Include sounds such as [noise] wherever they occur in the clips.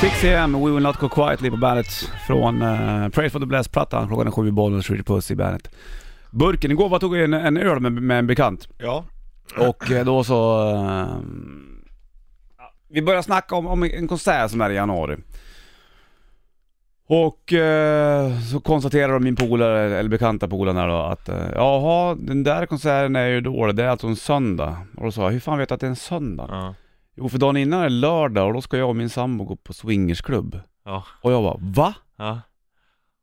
6 am, We Will Not Go Quietly på bandet från uh, Praise for the Blessed-plattan. Klockan är sju i bollen, Swedish Puss i bandet. Burken, igår var tog jag en, en öl med, med en bekant Ja. och eh, då så... eh, vi började snacka om, om en konsert som är i januari. Och eh, så konstaterar då min polare, eller bekanta polaren här då att eh, jaha, den där konserten är ju dålig, det är alltså en söndag. Och då sa jag, hur fan vet du att det är en söndag? Ja. Jo för dagen innan är lördag och då ska jag och min sambo gå på swingersklubb Ja. Och jag bara va? ja.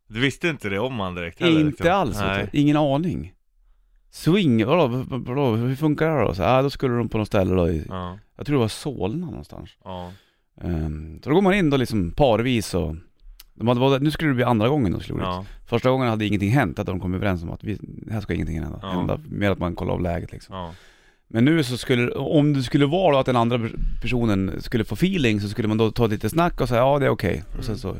Du visste inte det om han direkt heller? inte alls vet liksom, Nej. du. ingen aning Swing, vadå, v- v- vadå, hur funkar det här då? Så, ah, då skulle de på något ställe då i, Ja. jag tror det var Solna någonstans Ja. Ehm, Så då går man in då liksom parvis och de hade, varit- nu skulle det bli andra gången de skulle ja. Ja. Första gången hade ingenting hänt, att de kom överens om att vi, här ska ingenting hända, Ja. hända Mer att man kollar av läget liksom Ja. Men nu så skulle, om det skulle vara då att den andra per- personen skulle få feeling så skulle man då ta lite snack och säga ja det är okej. Och Mm. sen så,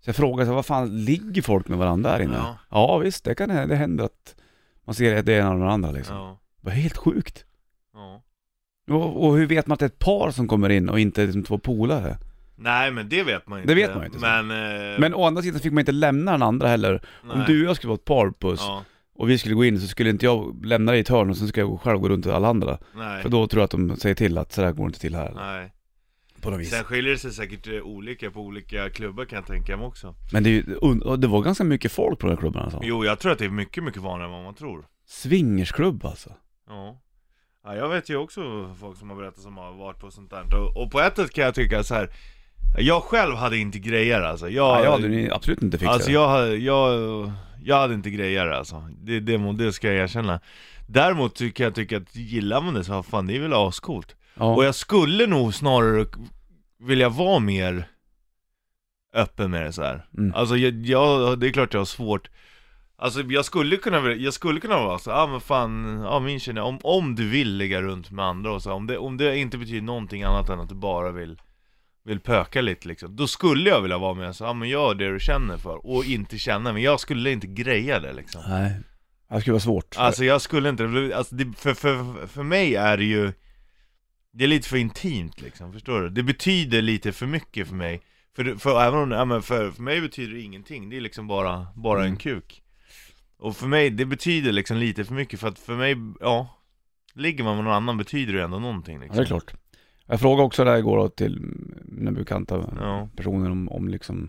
så jag frågade så här, vad fan ligger folk med varandra här inne? Ja, Ja. visst, det kan hä- det händer att man ser att det är en av den andra liksom. Ja. Det var helt sjukt. Ja. Och, och hur vet man att det är ett par som kommer in och inte liksom två polare? Nej men det vet man ju inte. Det vet man ju inte, så. Men... Eh, Men å andra sidan fick man inte lämna den andra heller. Om nej. du och jag skulle vara ett par puss Ja. och vi skulle gå in så skulle inte jag lämna dig i ett hörn och sen ska jag själv gå runt till alla andra. Nej. För då tror jag att de säger till att sådär går det inte till här. Nej. På något vis. Sen skiljer det sig säkert eh, olika på olika klubbar kan jag tänka mig också. Men det, är ju- und- och det var ganska mycket folk på den här klubben alltså. Jo, jag tror att det är mycket, mycket vanligare än vad man tror. Swingersklubb alltså. Ja. ja, jag vet ju också folk som har berättat som har varit på sånt där och, och på ett sätt kan jag tycka så här. Jag själv hade inte grejer alltså, jag, Ja, jag hade ni absolut inte fixat alltså det. jag, hade- jag, jag hade inte grejer alltså, det, det, må- det ska jag erkänna Däremot tycker jag tycker att gillar man det så, fan det är väl ascoolt Ja. Och jag skulle nog snarare k- vilja vara mer öppen med det så här. Mm. Alltså jag, jag, det är klart jag har svårt Alltså jag skulle kunna, vilja- jag skulle kunna vara så, ja ah, men fan, ja min tjej, om, om du vill ligga runt med andra och så, om det, om det inte betyder någonting annat än att du bara vill vill pöka lite liksom, då skulle jag vilja vara med så, ja ah, men gör det du känner för och inte känna, men jag skulle inte greja det liksom Nej. Det skulle vara svårt. Alltså jag skulle inte, alltså det, för, för, för mig är det ju Det är lite för intimt liksom, förstår du? Det betyder lite för mycket för mig För, för även om, ja, men för, för mig betyder det ingenting, det är liksom bara, bara Mm. en kuk Och för mig, det betyder liksom lite för mycket för att för mig, ja Ligger man med någon annan betyder det ändå någonting ja, liksom det är klart. Jag frågade också där igår då till mina bekanta Ja. personer om, om liksom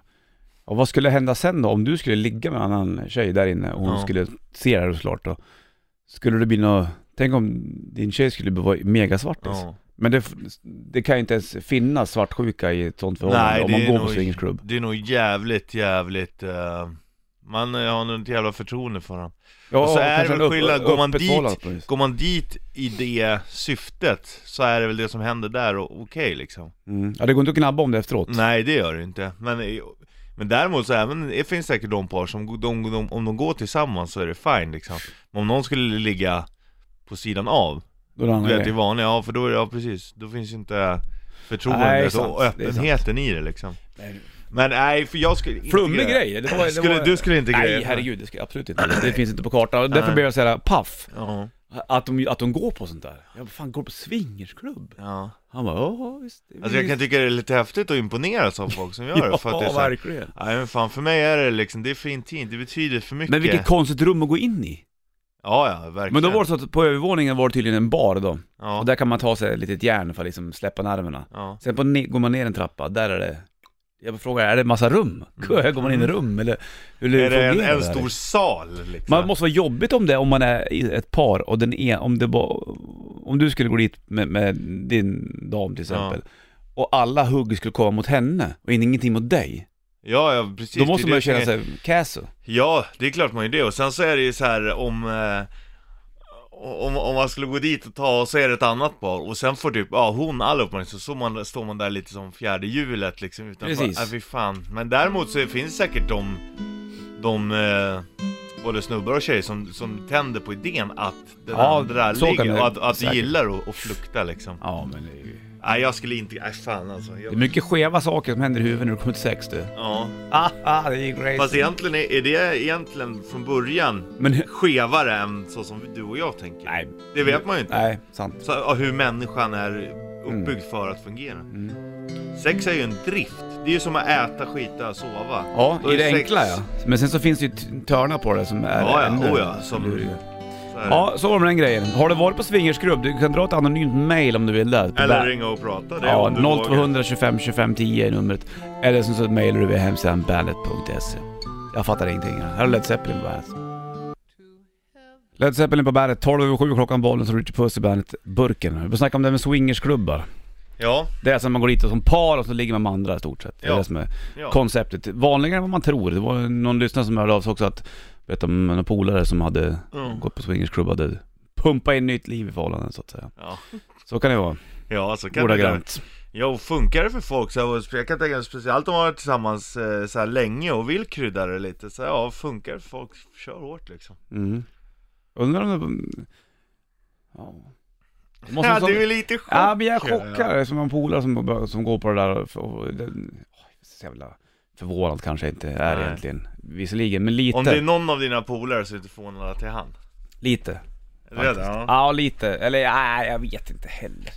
och vad skulle hända sen då om du skulle ligga med en annan tjej där inne och hon Ja. skulle se det här såklart då? Skulle det bli något, tänk om din tjej skulle vara megasvartis? ja. Men det, f- det kan ju inte ens finnas svartsjuka i ett sånt förhållande Nej, om det man är går på nog- swingersklubb. Det är nog jävligt, jävligt eh, Man eh, har nog ett jävla förtroende för honom Ja, Och så är det kanske väl en upp- skillnad, går man öppet dit- förhållande på något vis. Går man dit i det syftet så är det väl det som händer där och okej liksom Mm. Ja det går inte att gnabba om det efteråt. Nej det gör det inte, men, eh, men däremot så även, det finns säkert de par som, de, de, om de går tillsammans så är det fine liksom Men om någon skulle ligga på sidan av, Då är det en du annan vet det grej. vanliga, ja för då är det, ja precis, då finns ju inte Nej, det är förtroendet sant, och det är sant. öppenheten i det liksom Men nej, för jag skulle inte Flummig greja. grej! Det var, det Skulle, var... Du skulle inte greja Nej herregud, det ska jag absolut inte. Det finns inte på kartan. Och Därför Nej. blev jag såhär paff, Ja, att de, att de går på sånt där. Jag bara, fan går du på swingersklubb? ja Han bara, ja visst. det är Alltså jag visst." kan tycka det är lite häftigt att imponeras av folk som gör det Ja, för att det är så här, verkligen. Nej men fan, för mig är det liksom, det är för intimt, det betyder för mycket Men vilket konstigt rum att gå in i. Ja ja, verkligen Men då var det så att på övervåningen var det tydligen en bar då. Ja, Och där kan man ta sig ett litet järn för att liksom släppa nerverna. ja, Sen på, ne- går man ner en trappa, där är det... Jag frågar, är det massa rum? Går man in i rum eller? Hur Mm. Är det en, fungerar en här? stor sal liksom? Man måste vara jobbigt om det om man är i ett par och den är, om det var, om du skulle gå dit med, med din dam till exempel och alla hugg skulle komma mot henne och ingenting mot dig. Ja ja, precis Då måste det är man ju det som känna är- sig casu. Ja, det är klart man gör det, och sen så är det ju så här om eh, om, om man skulle gå dit och ta, och så är det ett annat par, och sen får typ, ja hon all uppmärksamhet, så står man, står man där lite som fjärde hjulet liksom utanför, Precis. Ja, fy fan Men däremot så finns det säkert de, de eh, både snubbar och tjejer som, som tänder på idén att den Ja, andra så kan ligger, det och att, att du säkert. gillar att- att flukta liksom Ja men det är ju... Nej jag skulle inte, nej fan alltså Det är jag, mycket skeva saker som händer i huvudet när du kommer till sex [laughs] du. Ja, Ah, ah, det är ju crazy. fast egentligen är, är det egentligen från början Men skevare än så som du och jag tänker. nej, Det vet man ju inte. nej, sant. Mm. Så, ja, hur människan är uppbyggd för att fungera. Sex är ju en drift, det är ju som att äta, skita, sova. Ja, Då i det sex- enkla ja. Men sen så finns det ju t- törnar på det som är Ja, ja, ännu oh, ja, som- lurigare. Så här. Ja, så var det med den grejen. Har du varit på swingersgrupp, du kan dra ett anonymt mail om du vill där. På Eller ba- ringa och prata. Det är Ja, om du vågar. 0200 25 25 10 är numret. Eller som så mejlar du via hemsidan bandet.se. Jag fattar ingenting. Här har Led Zeppelin på bandet. Led Zeppelin på bandet, 12 över 7 klockan bollen så Richard Puss i bandet Burken. Vi får snacka om det här med swingersklubbar. Ja, Det är alltså man går dit och som par och så ligger man med andra i stort sett. Det är Ja. det som är ja. konceptet. Vanligare än vad man tror. Det var någon lyssnare som hörde av sig också att, vet om några polare som hade Mm. gått på swingersklubbar hade pumpat in nytt liv i förhållanden så att säga. Ja. Så kan det vara, ja, så kan det vara. ordagrant. Ja, och funkar det för folk så här, jag kan tänka speciellt om man har varit tillsammans eh, så här länge och vill krydda det lite. Så här, ja, funkar det för folk, kör hårt liksom. Mm. Undrar om det... Ja. Det Måste Ja, Alltså, som... du är lite chockad. ja, men jag är chockad. Som en polare som, som går på det där och... och det... åh, så jävla förvånad kanske jag inte är Nej. egentligen. Visserligen, men lite. Om det är någon av dina polare så är du inte förvånad att det är han. Lite. Redan? faktiskt. Ja. Ja, lite. Eller nej, jag vet inte heller.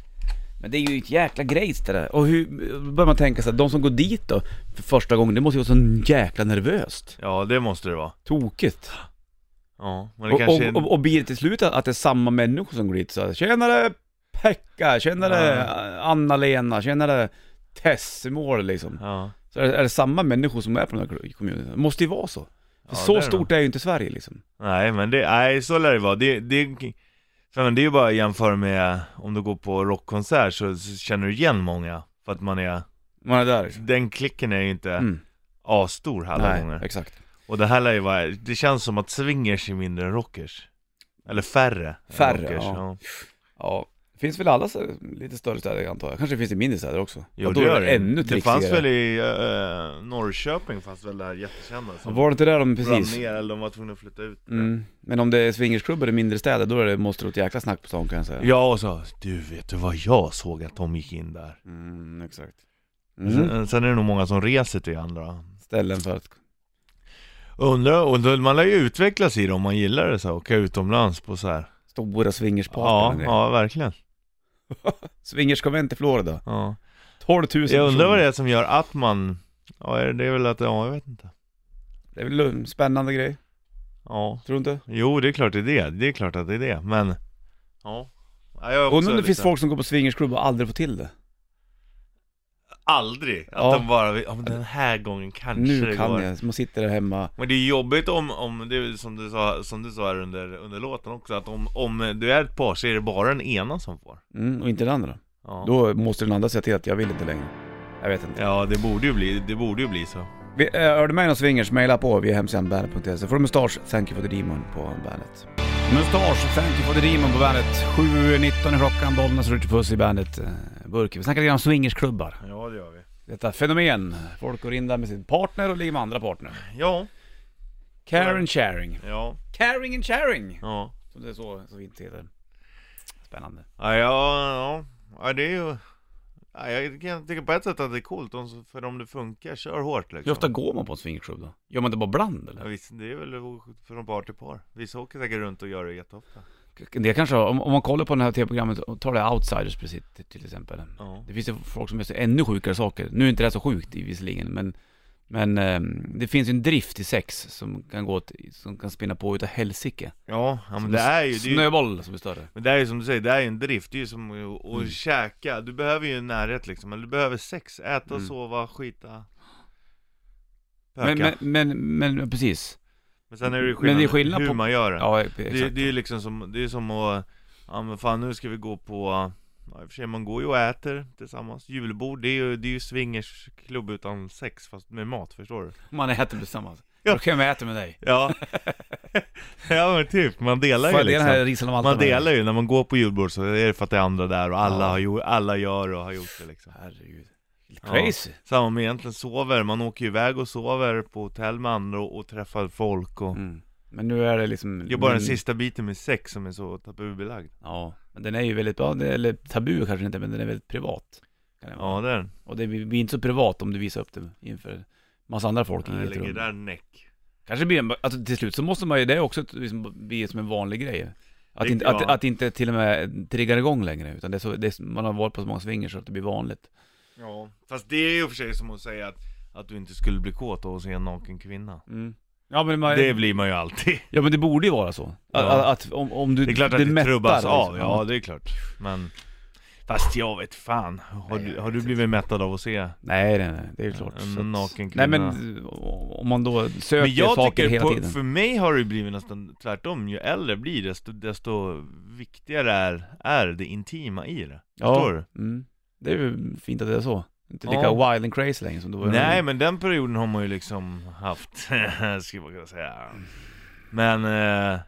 Men det är ju ett jäkla grejs det där. Och hur då börjar man tänka så här, de som går dit då för första gången, det måste ju vara så jäkla nervöst. ja, det måste det vara. Tokigt. Ja, men det Och, kanske och, är... och, och blir det till slut att att det är samma människor som går dit så här, tjenare Pekka, tjenare Anna-Lena, tjenare Tessimor liksom. Ja. Så är, är det samma människor som är på den här kommunen? Det måste ju vara så. För Ja, så det är det stort är ju inte Sverige liksom. Nej, men det, nej, så lär det vara. Det, det, för men det är ju bara att jämföra med om du går på rockkonsert så, så känner du igen många. För att man är, Man är där liksom. den klicken är ju inte Mm. asstor alla Nej, gånger. exakt. Och det här lär ju vara, det känns som att swingers är mindre än rockers. Eller färre. än Färre, rockers, ja. ja. Ja, finns väl alla så- lite större städer antar jag. Kanske finns det mindre städer också. Jo, Och det gör det. ännu det fanns trixigare. väl i eh, Norrköping, fanns väl det här jättekända som Var det inte där de brann precis? ner eller de var tvungna att flytta ut. Mm. Men om det är swingersklubbar i mindre städer, då är det, måste det vara ett jäkla snack på stan kan jag säga. Ja, och så, du vet du vad jag såg att de gick in där? Mm, exakt. Mm. Sen, sen är det nog många som reser till andra Ställen för att... Undrar, undrar, man lär ju utvecklas i det om man gillar det så här, åka utomlands på så här. Stora swingerspartyn Ja, och grejer. ja, verkligen. Swingerskonvent i Florida. Ja. 12 000 Jag undrar vad det personer. är som gör att man, ja är det- det är väl att, ja jag vet inte. Det är väl en spännande grej, Ja, tror du inte? jo det är klart det är det, det är klart att det är det, men ja. ja jag är också Undrar om det lite- finns folk som går på swingersklubbar och aldrig får till det. Aldrig, att Ja. de bara, ja, men den här gången kanske Nu det kan går. jag, man sitter där hemma. Men det är jobbigt om, om det är som du sa, som du sa här under, under låten också, att om, om du är ett par så är det bara den ena som får. Mm, och inte den andra. Ja. Då måste den andra säga till att jag vill inte längre. Jag vet inte. Ja, det borde ju bli, det borde ju bli så. Vi, eh, är du med i någon swingers, mejla på via hemsidan bandet.se. Får du mustasch, thank you for the demon på bandet. Mustasch, thank you for the demon på bandet. 7.19 i klockan, Bollnäs och Richard Puss i bandet eh, Burke. Vi snackar lite om swingersklubbar. Ja, det gör vi. Detta fenomen. Folk går in där med sin partner och ligger med andra partner. Ja, Care and sharing. ja, Caring and sharing! ja. Som det är så, så fint heter. Spännande. Ja, ja, ja. ja det är ju... Ja, jag kan tycka på ett sätt att det är coolt, om så- för om det funkar, kör hårt liksom. Hur ofta går man på en swingersklubb då? Gör man det bara bland Ja, eller? visst, det är väl från par till par. Vissa åker säkert runt och gör det jätteofta. Det kanske, om, om man kollar på det här tv-programmet, och tar det Outsiders precis till- till exempel. Ja. Det finns ju folk som gör så ännu sjukare saker. Nu är inte det här så sjukt i- visserligen, men, men ehm, det finns ju en drift i sex som kan gå åt, som kan spinna på utav helsike. Ja, ja men Som det en är ju... Det är ju Snöboll som är större. men det är ju som du säger, det är ju en drift. Det är ju som att Mm. att käka. Du behöver ju närhet liksom. Eller du behöver sex. Äta, Mm. sova, skita. Pöka. Men, Men, men, men, men, men precis. sen är det ju men skillnad, det är skillnad hur på- man gör det. Ja, exakt. Det, det är ju liksom som, det är som att, ja men fan nu ska vi gå på, ja, i och för sig man går ju och äter tillsammans, julbord, det är ju, det är ju swingersklubb utan sex fast med mat, förstår du? Man äter tillsammans. Ja. Då kan jag äta med dig. Ja, [laughs] ja men typ, man delar Får ju jag dela den här liksom. risen av allt? Man delar ju, när man går på julbord så är det för att det är andra där och alla, Ja. har gjort, alla gör och har gjort det liksom. Herregud. Helt Ja. Crazy. Samma med egentligen sover, man åker ju iväg och sover på hotell med andra och, och träffar folk och Mm. Men nu är det liksom... Det är bara den men- sista biten med sex som är så tabubelagd. Ja, men den är ju väldigt, ja, det- eller tabu kanske inte, men den är väldigt privat. Kan det vara. Ja, det är den. Och det blir blir inte så privat om du visar upp det inför massa andra folk i Jag ett lägger rum. där näck. Kanske blir en, alltså till slut så måste man ju, det är också ett- liksom, bli som en vanlig grej. Att Det- inte, att, ja. att inte till och med triggar igång längre, utan det är så, det är, man har varit på så många swingers så att det blir vanligt. Ja, fast det är ju för sig som att säga att, att du inte skulle bli kåt av att se en naken kvinna. Mm. Ja, men man, Det det... blir man ju alltid. ja men det borde ju vara så. Att- Ja. Att, att om, om du, Det är klart att det, mättar, trubbas liksom. av, ja det är klart. Men... Fast jag vet fan, har, Nej, du, jag har vet du blivit mättad av att se Nej, nej, nej, det är klart. Så att- en naken kvinna? Nej men eh, om man då söker Men jag saker tycker, hela på, tiden. för mig har det ju blivit nästan tvärtom, ju äldre jag blir desto, desto viktigare är, är det intima i det. Förstår du? Mm. Det är ju fint att det är så. Inte lika Ja. wild and crazy längre som du var. Nej men den perioden har man ju liksom haft, [laughs] skulle man kunna säga. Men, eh,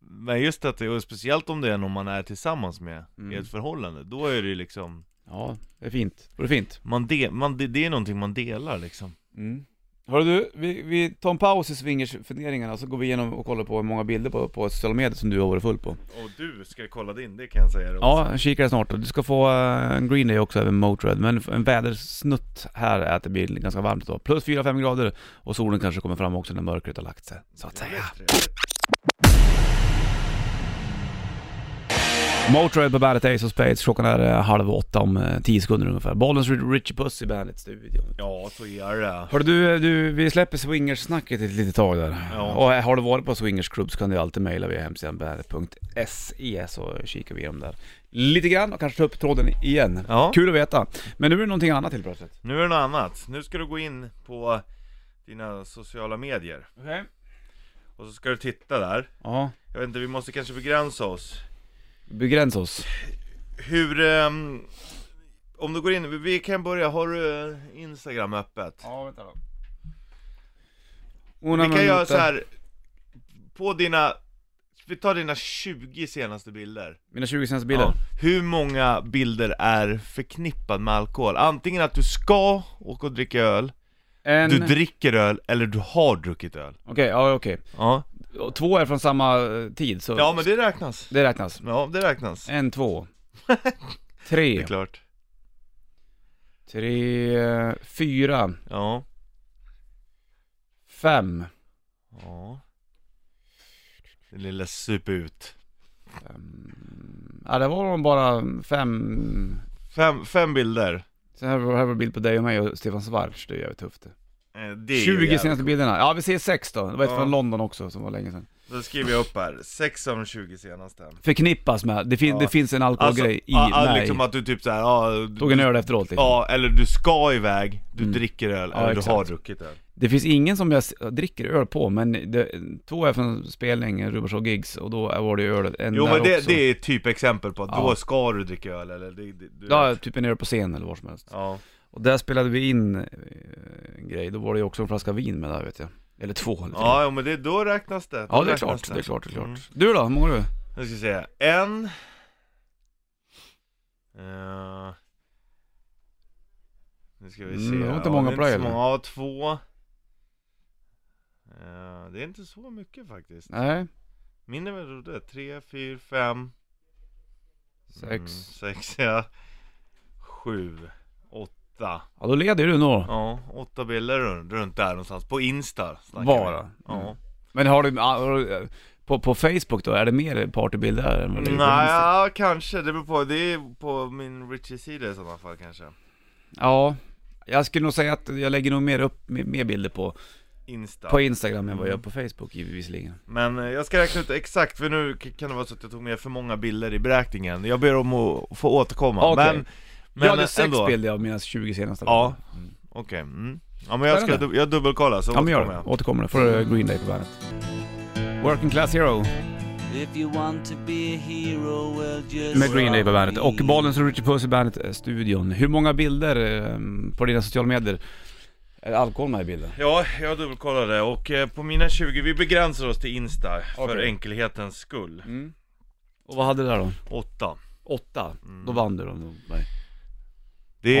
men just att det, och speciellt om det är någon man är tillsammans med i Mm. ett förhållande, då är det ju liksom, Ja, det är fint. Det är fint. man de, man, det, det är någonting man delar liksom. Mm. Hörru du, vi, vi tar en paus i swingersfunderingarna så går vi igenom och kollar på hur många bilder på, på sociala medier som du har varit full på. Och du ska kolla din, det kan jag säga då. Ja, kika snart. Du ska få eh, en green day också över Motörhead, men en vädersnutt här är att det blir ganska varmt idag. Plus 4-5 grader och solen kanske kommer fram också när mörkret har lagt sig, så att säga. Motörhead på bandet Ace of Spades, klockan är eh, halv åtta om eh, 10 sekunder ungefär. Bollens Richie Puss i bandets studio. Ja, så är det. Hörru du, du, vi släpper swingersnacket ett litet tag där. Ja. Och eh, har du varit på swingersklubb så kan du alltid mejla via hemsidan bandet.se E, så kikar vi igenom där. Lite grann och kanske ta upp tråden igen. Ja. Kul att veta. Men nu är det någonting annat helt plötsligt. Nu är det något annat. Nu ska du gå in på dina sociala medier. Okej. Och så ska du titta där. Ja. Jag vet inte, vi måste kanske begränsa oss. Begränsa oss. Hur... ehm, om du går in, vi kan börja, har du eh, Instagram öppet? Ja, vänta då. vi kan göra så här. på dina... Vi tar dina 20 senaste bilder. Mina 20 senaste bilder. Ja. Hur många bilder är förknippad med alkohol? Antingen att du ska åka och dricka öl, En... du Okej, dricker öl, eller du har druckit öl. ja okej. Ja, Och Två är från samma eh, tid så ja men det räknas. det räknas. Ja, det räknas. En, [laughs] två. Det Tre. är klart. Tre, eh, fyra, Ja. fem. Ja. Den lilla sup ut. Mm, Ja, det var nog bara fem. Fem, fem bilder. Sen här var här var bild på dig och mig och Stefan Schwarz, det är jävligt tufft. Eh, Det är ju 20 jävligt. senaste bilderna. Ja, vi ser sex då. Det var ett Ja. från London också som var länge sedan. Då skriver jag upp här, sex av de 20 senaste. Förknippas med. Det, fin- Ja. det finns en alkoholgrej i ja, ja, mig. liksom att du typ såhär, ja, du- Tog en öl efteråt liksom. ja, eller du ska iväg, du Mm. dricker öl, Ja, eller exakt. du har druckit öl. Det finns ingen som jag s- dricker öl på, men det, två är från spelning, Rubershow Gigs, och då var det ju öl. En Jo där men det, också. det är ett typ exempel på att Ja. då ska du dricka öl, eller det, det, du Ja, vet. typ en öl på scen eller var som helst. ja. Och där spelade vi in eh, en grej, då var det ju också en flaska vin med där vet jag. Eller två eller tre. Ja, jo, men det, då räknas det. Då Ja, det är räknas klart, det är klart, det är klart. Mm. Du då, hur mår du? Nu ska vi se, en... Eh, nu ska vi se, Mm, det var inte Ja, många det är bra, inte så eller? många. Ja, två Eh, Det är inte så mycket faktiskt Nej, Min är väl rolig, tre, fyra, fem sex. mm, Sex, ja Sju Åtta Ja, då leder ju du nog. Ja, åtta bilder runt, runt där någonstans, på Insta snackar vi. Bara? Mm. Ja Men har du, har du- på, på Facebook då, är det mer partybilder där än vad det är på Nej, Insta? ja, kanske, det beror på, det är på min Richie-sida i sådana fall kanske Ja, jag skulle nog säga att jag lägger nog mer upp, mer, mer bilder på, Insta på Instagram än vad Mm. jag gör på Facebook giv- visserligen. Men eh, jag ska räkna ut exakt, för nu k- kan det vara så att jag tog med för många bilder i beräkningen Jag ber om att få återkomma, Okej. men, men eh, Men jag hade sex ändå. bilder av mina 20 senaste. Ja. Mm. Okej, mm. Ja men jag, ska, Spännande. dub- jag dubbelkollar så Ja men gör återkommer det, jag återkommer det. Får du Green Day på bandet. Working Class Hero. If you want to be a hero, well just Med Green Day på bandet och be. Bollens och Richie Puss i bandet-studion. Hur många bilder eh, på dina sociala medier är alkohol med i bilden? Ja, jag dubbelkollade och eh, på mina 20, vi begränsar oss till Insta för Okej. enkelhetens skull Och vad hade du där då? Mm. Åtta Åtta? Då vann du dem. Nej. Det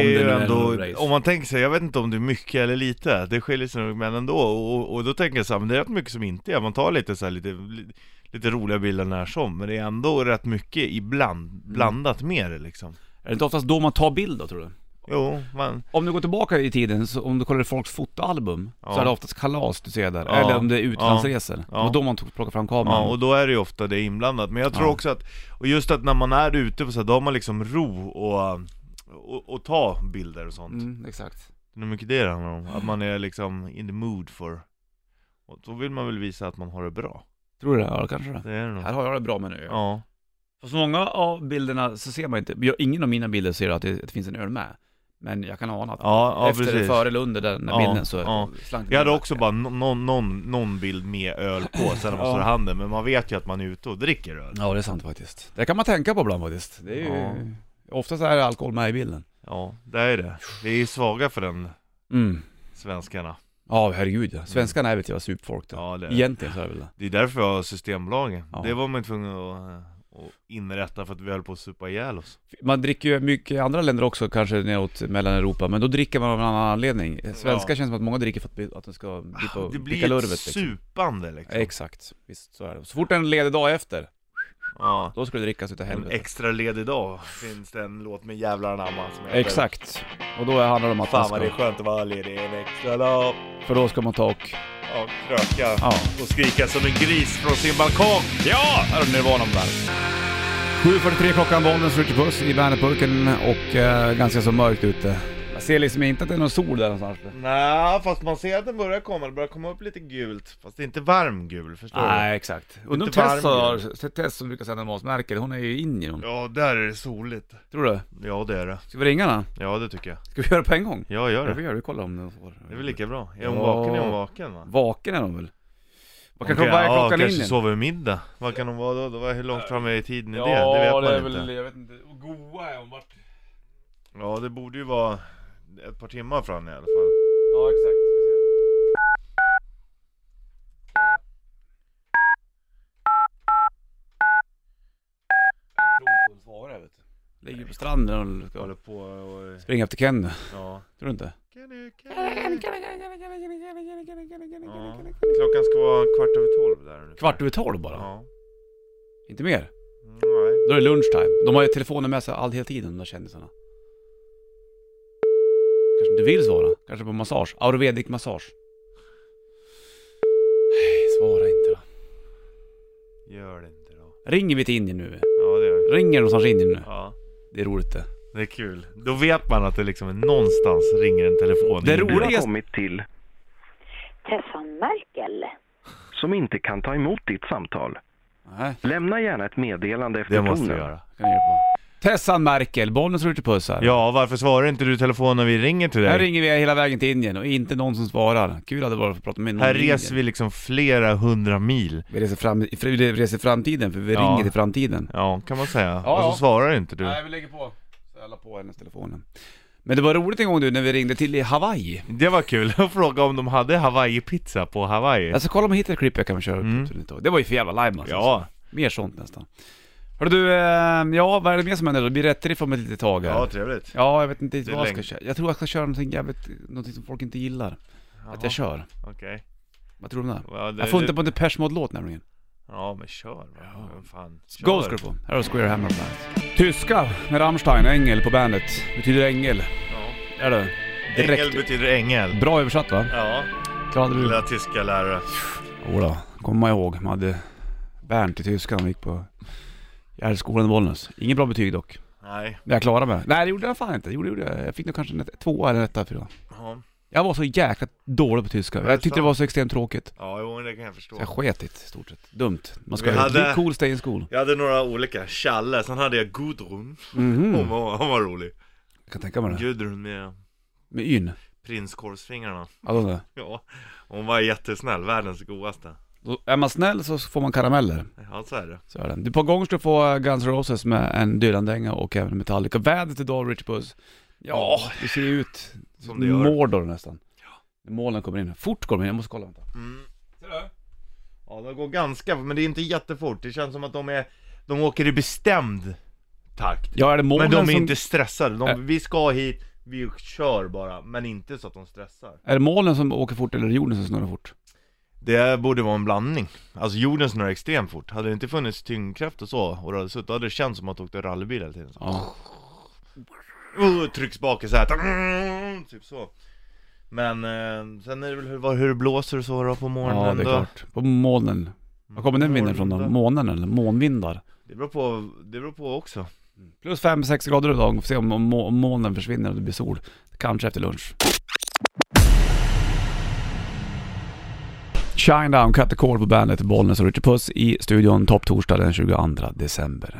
Om är det ju nu är ändå, någon race. om man tänker sig, jag vet inte om det är mycket eller lite, det skiljer sig nog men ändå, och, och då tänker jag så här, men det är rätt mycket som inte är, man tar lite så här, lite, li- lite roliga bilder när som, men det är ändå rätt mycket Mm. ibland, blandat med det liksom Är det inte oftast då man tar bild då tror du? Jo, man, Om du går tillbaka i tiden, så om du kollar i folks fotoalbum, Ja. så är det oftast kalas du ser där. Ja. Eller om det är utlandsresor. Ja. Och då man tog, plockar fram ja, kameran. och då är det ju ofta det inblandat, men jag tror Ja. också att, och just att när man är ute på så här, då har man liksom ro och och, och ta bilder och sånt. Mm, exakt. Det är mycket det det handlar om, att man är liksom in the mood for Och då vill man väl visa att man har det bra Tror du det? Ja, kanske det. Det är det nog Här har jag det bra med nu. Mm. Ja, Fast många av bilderna så ser man inte, jag, ingen av mina bilder ser att det, att det finns en öl med. Men jag kan ana att ja, ja efter, precis före eller under den Ja, bilden så ja. slank det Jag hade in. också bara nå- någon, någon, någon bild med öl på sen när man Ja. står i handen, men man vet ju att man är ute och dricker öl Ja, det är sant faktiskt. Det kan man tänka på ibland faktiskt. Det är ju... Oftast är det alkohol med i bilden. Ja, det är det. Vi är ju svaga för den, Mm. svenskarna Ja, herregud ja. Svenskarna är väl ett jävla supfolk då. Ja, det är det. Egentligen så är det väl det. Det är därför jag har Systembolagen. Ja. Det var man tvungen att, att inrätta för att vi höll på att supa ihjäl oss. Man dricker ju mycket i andra länder också, kanske neråt Mellaneuropa, men då dricker man av en annan anledning. Svenskar Ja. känns som att många dricker för att, bli- att de ska bli på det picka blir Ah, lurvet ett liksom. supande liksom. Exakt, visst så är det. Så fort en ledig dag efter, Ja. då ska det drickas utav En helvete. extra ledig dag finns det en låt med jävlar anamma som heter Exakt. Och då handlar det om att man Fan vad det är ska, skönt att vara ledig en extra dag. för då ska man ta och, Ja, kröka ja. och skrika som en gris från sin balkong. Ja! Här har du Nirvana på bandet. 7.43 klockan, Bollnäs, Ritchie Puss i Bandet-burken och eh, ganska så mörkt ute. Jag ser liksom inte att det är någon sol där någonstans. Nej, fast man ser att den börjar komma. Det börjar komma upp lite gult. Fast det är inte varm gul, förstår Nej, exakt. Undrar om Lite varm Tess har, Tess som brukar sända matmärken, hon är ju i Indien hon. du? Ja, där är det soligt. Tror du? Ja, det är det. Ska vi ringa henne? Ja, det tycker jag. Ska vi göra det på en gång? Ja, gör Ja, det. vi gör det. Vi kollar om den får... Det är väl lika bra. Är hon Ja. vaken är hon vaken va? Vaken är hon väl? Vad Hon kan vara ja, klockan i kanske Indien? sover middag. Vad kan hon vara då? då var hur långt fram är i tiden i det? Ja, det vet man är inte. väl, jag vet inte. Och goa är hon vart? Ja, det borde ju vara ett par timmar fram i alla fall. Ja, exakt. Jag tror hon vet du. Ligger på stranden och Jag ska håller på och... springa efter Ken. Tror Ja. du inte? Ja. Klockan ska vara kvart över tolv där ungefär. Kvart över tolv bara? Ja. Inte mer? Nej. Då är det lunchtime. De har ju telefonen med sig all hela tiden, de där kändisarna. Kanske inte vill svara. Kanske på massage. Ayurvedic massage. Nej, svara inte då. Gör det inte då. Ringer vi till Indien nu? Ja, det gör jag. Ringer det någonstans i Indien nu? Ja. Det är roligt det. Det är kul. Då vet man att det liksom är någonstans ringer en telefon. Det i Indien. roliga- Du har kommit till Tessan Merkel. som inte kan ta emot ditt samtal. Nej, Lämna gärna ett meddelande efter Det måste du tonen. göra. kan jag göra på. Tessan Merkel, Bollnäs Ritchie-puss här. Ja, varför svarar inte du i telefon när vi ringer till dig? Här ringer vi hela vägen till Indien och inte någon som svarar. Kul hade det varit att få prata med någon Här i Indien. reser vi liksom flera hundra mil. Vi reser, fram, vi reser framtiden, för vi Ja. ringer till framtiden. Ja, kan man säga. Ja, och så ja. svarar inte du. vi lägger på. Så jag la på hennes telefon. Men det var roligt en gång du när vi ringde till Hawaii. Det var kul att fråga om de hade hawaii-pizza på Hawaii. Jag ska Alltså, kolla om jag hittar ett klipp jag kan köra upp. Mm. Mm. Det var ju för jävla lime alltså. Ja, Mer sånt nästan. Hörru du, eh, ja vad är det mer som händer då? Det blir rätteriff om ett litet tag här. ja trevligt. Ja, jag vet inte Det riktigt är vad jag ska länge. köra. Jag tror jag ska köra någonting jävligt, någonting som folk inte gillar. Att jag kör. Okej. Vad tror du om det? Ja, det- Jag får det- inte på en Depeche Mode-låt nämligen. Ja, men kör. va. Men Fan, kör. Go ska du få. Här har du Square Hammer på bandet. Tyska med Rammstein, ängel på bandet. Betyder ängel. Ja. Är det? Ängel Direkt. betyder ängel. Bra översatt va? Ja, Klarade du? lilla tyska lärare. Jodå, kommer man ihåg. Man hade Bernt i tyska när man gick på Gärdsskolan i Bollnäs. Inget bra betyg dock. Nej. Men jag klarade mig. Nej det gjorde jag fan inte. Det gjorde, gjorde jag. Jag fick nog kanske en ett- tvåa eller en etta fyra. Ja, Jag var så jäkla dålig på tyska. Jag tyckte det var så extremt tråkigt. ja jo, men det kan jag Så jag förstå. sket i det, i stort sett. Dumt. Man ska Vi hade... hade- be cool, stay in school. Jag hade några olika. Challe, sen hade jag Gudrun. Hon Mhm. var, hon var rolig. Jag kan tänka mig det. Gudrun med Med yn. prinskorvsfingrarna. Ja, då, då. Ja, hon var jättesnäll. Världens godaste. Då är man snäll så får man karameller. Ja, så är det. Så är det. Du, på gång ska du få eh, Guns N' Roses med en Dylan-dänga och även Metallica. Vädret idag, Rich Puss. Ja, det ser ju ut Som det gör. Mordor nästan. Ja. Molnen kommer in. Fort kommer de in, jag måste kolla. Vänta. Mm. Ja, de går ganska, men det är inte jättefort. Det känns som att de är, de åker i bestämd takt. Ja, är det molnen Men de är som... inte stressade. Äh. De, vi ska hit, vi kör bara, men inte så att de stressar. Är det molnen som åker fort eller är det jorden som snurrar fort? Det borde vara en blandning. Alltså jorden snurrar extremt fort. Hade det inte funnits tyngdkraft och så, och det hade suttit, då hade det känts som att du åkte rallybil hela tiden. Så. Ja. Uh, trycks bak i så här. Mm, typ så. Men eh, sen är det väl hur, vad- hur det blåser och så då på morgonen ja, det är då. klart. På molnen. Var kommer den vinden ifrån då? Morgonen. Månen eller månvindar? Det beror på, det beror på också. Plus 5-6 grader idag, får se om, om, må- om molnen försvinner och det blir sol. Kanske efter lunch. Shine Down, Cut the Call på bandet, Bollnäs och Richard Puss i studion topptorsdag den 22 december.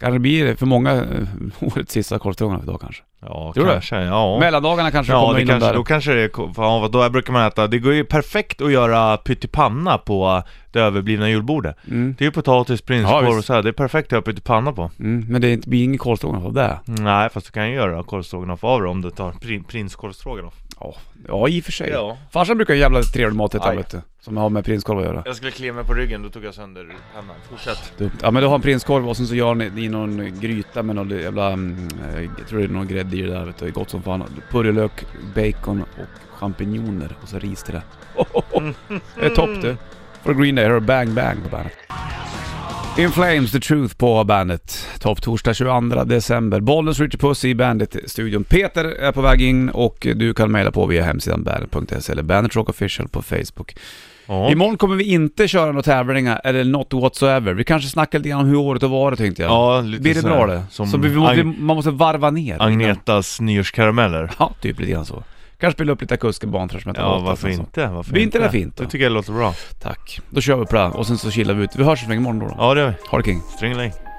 Kanske blir det för många eh, [laughs] årets sista korvstroganoff för idag kanske. Ja, Tror du? kanske. Ja. Mellandagarna kanske Ja, kommer det in de kanske, där. då kanske det är, ja, då brukar man äta, det går ju perfekt att göra pyttipanna på det överblivna julbordet. Mm, Det är ju potatis, Ja, prinskorv visst. och så här. det är perfekt att ha pyttipanna på. mm, men det är inte- blir ingen korvstroganoff av det. Nej, fast du kan ju göra korvstroganoff av det om du tar prin, prinskorvstroganoff. Ja, ja i och för sig. Ja. Farsan brukar ju jävla trevlig mat äta Aj. vet du. Som har med prinskorv att göra. Jag skulle klia mig på ryggen, då tog jag sönder pannan. Fortsätt. Dumt. Ja men du har en prinskorv och sen så gör ni i någon gryta med någon jävla, mm, eh, jag tror det är någon grädde i det där vet du, Det är gott som fan. Purjolök, bacon och champinjoner och så ris till det. Det är topp du. För Green Day, hör Bang Bang på bandet. In Flames, The Truth på bandet. Topp torsdag 22 december. Bollens Richard Puss i Bandet-studion. Peter är på väg in och du kan mejla på via hemsidan bandet.se eller Bandet Rock Official på Facebook. Ja. Imorgon kommer vi inte köra några tävlingar eller något whatsoever. Vi kanske snackar lite grann om hur året har varit tänkte jag. Ja, lite Blir det så bra här, det? Som så vi, vi, Ag- vi, man måste varva ner. liksom. Agnetas nyårskarameller. Ja, typ lite grann så. Kanske spela upp lite akuskerbarn för att smälta Ja, låtar varför och så. inte? Varför alltså. Blir inte det fint då? Det tycker jag låter bra. Tack. Då kör vi på det här och sen så chillar vi ut. Vi hörs imorgon då. då. Ja, det gör vi. Ha det king. Stringeling.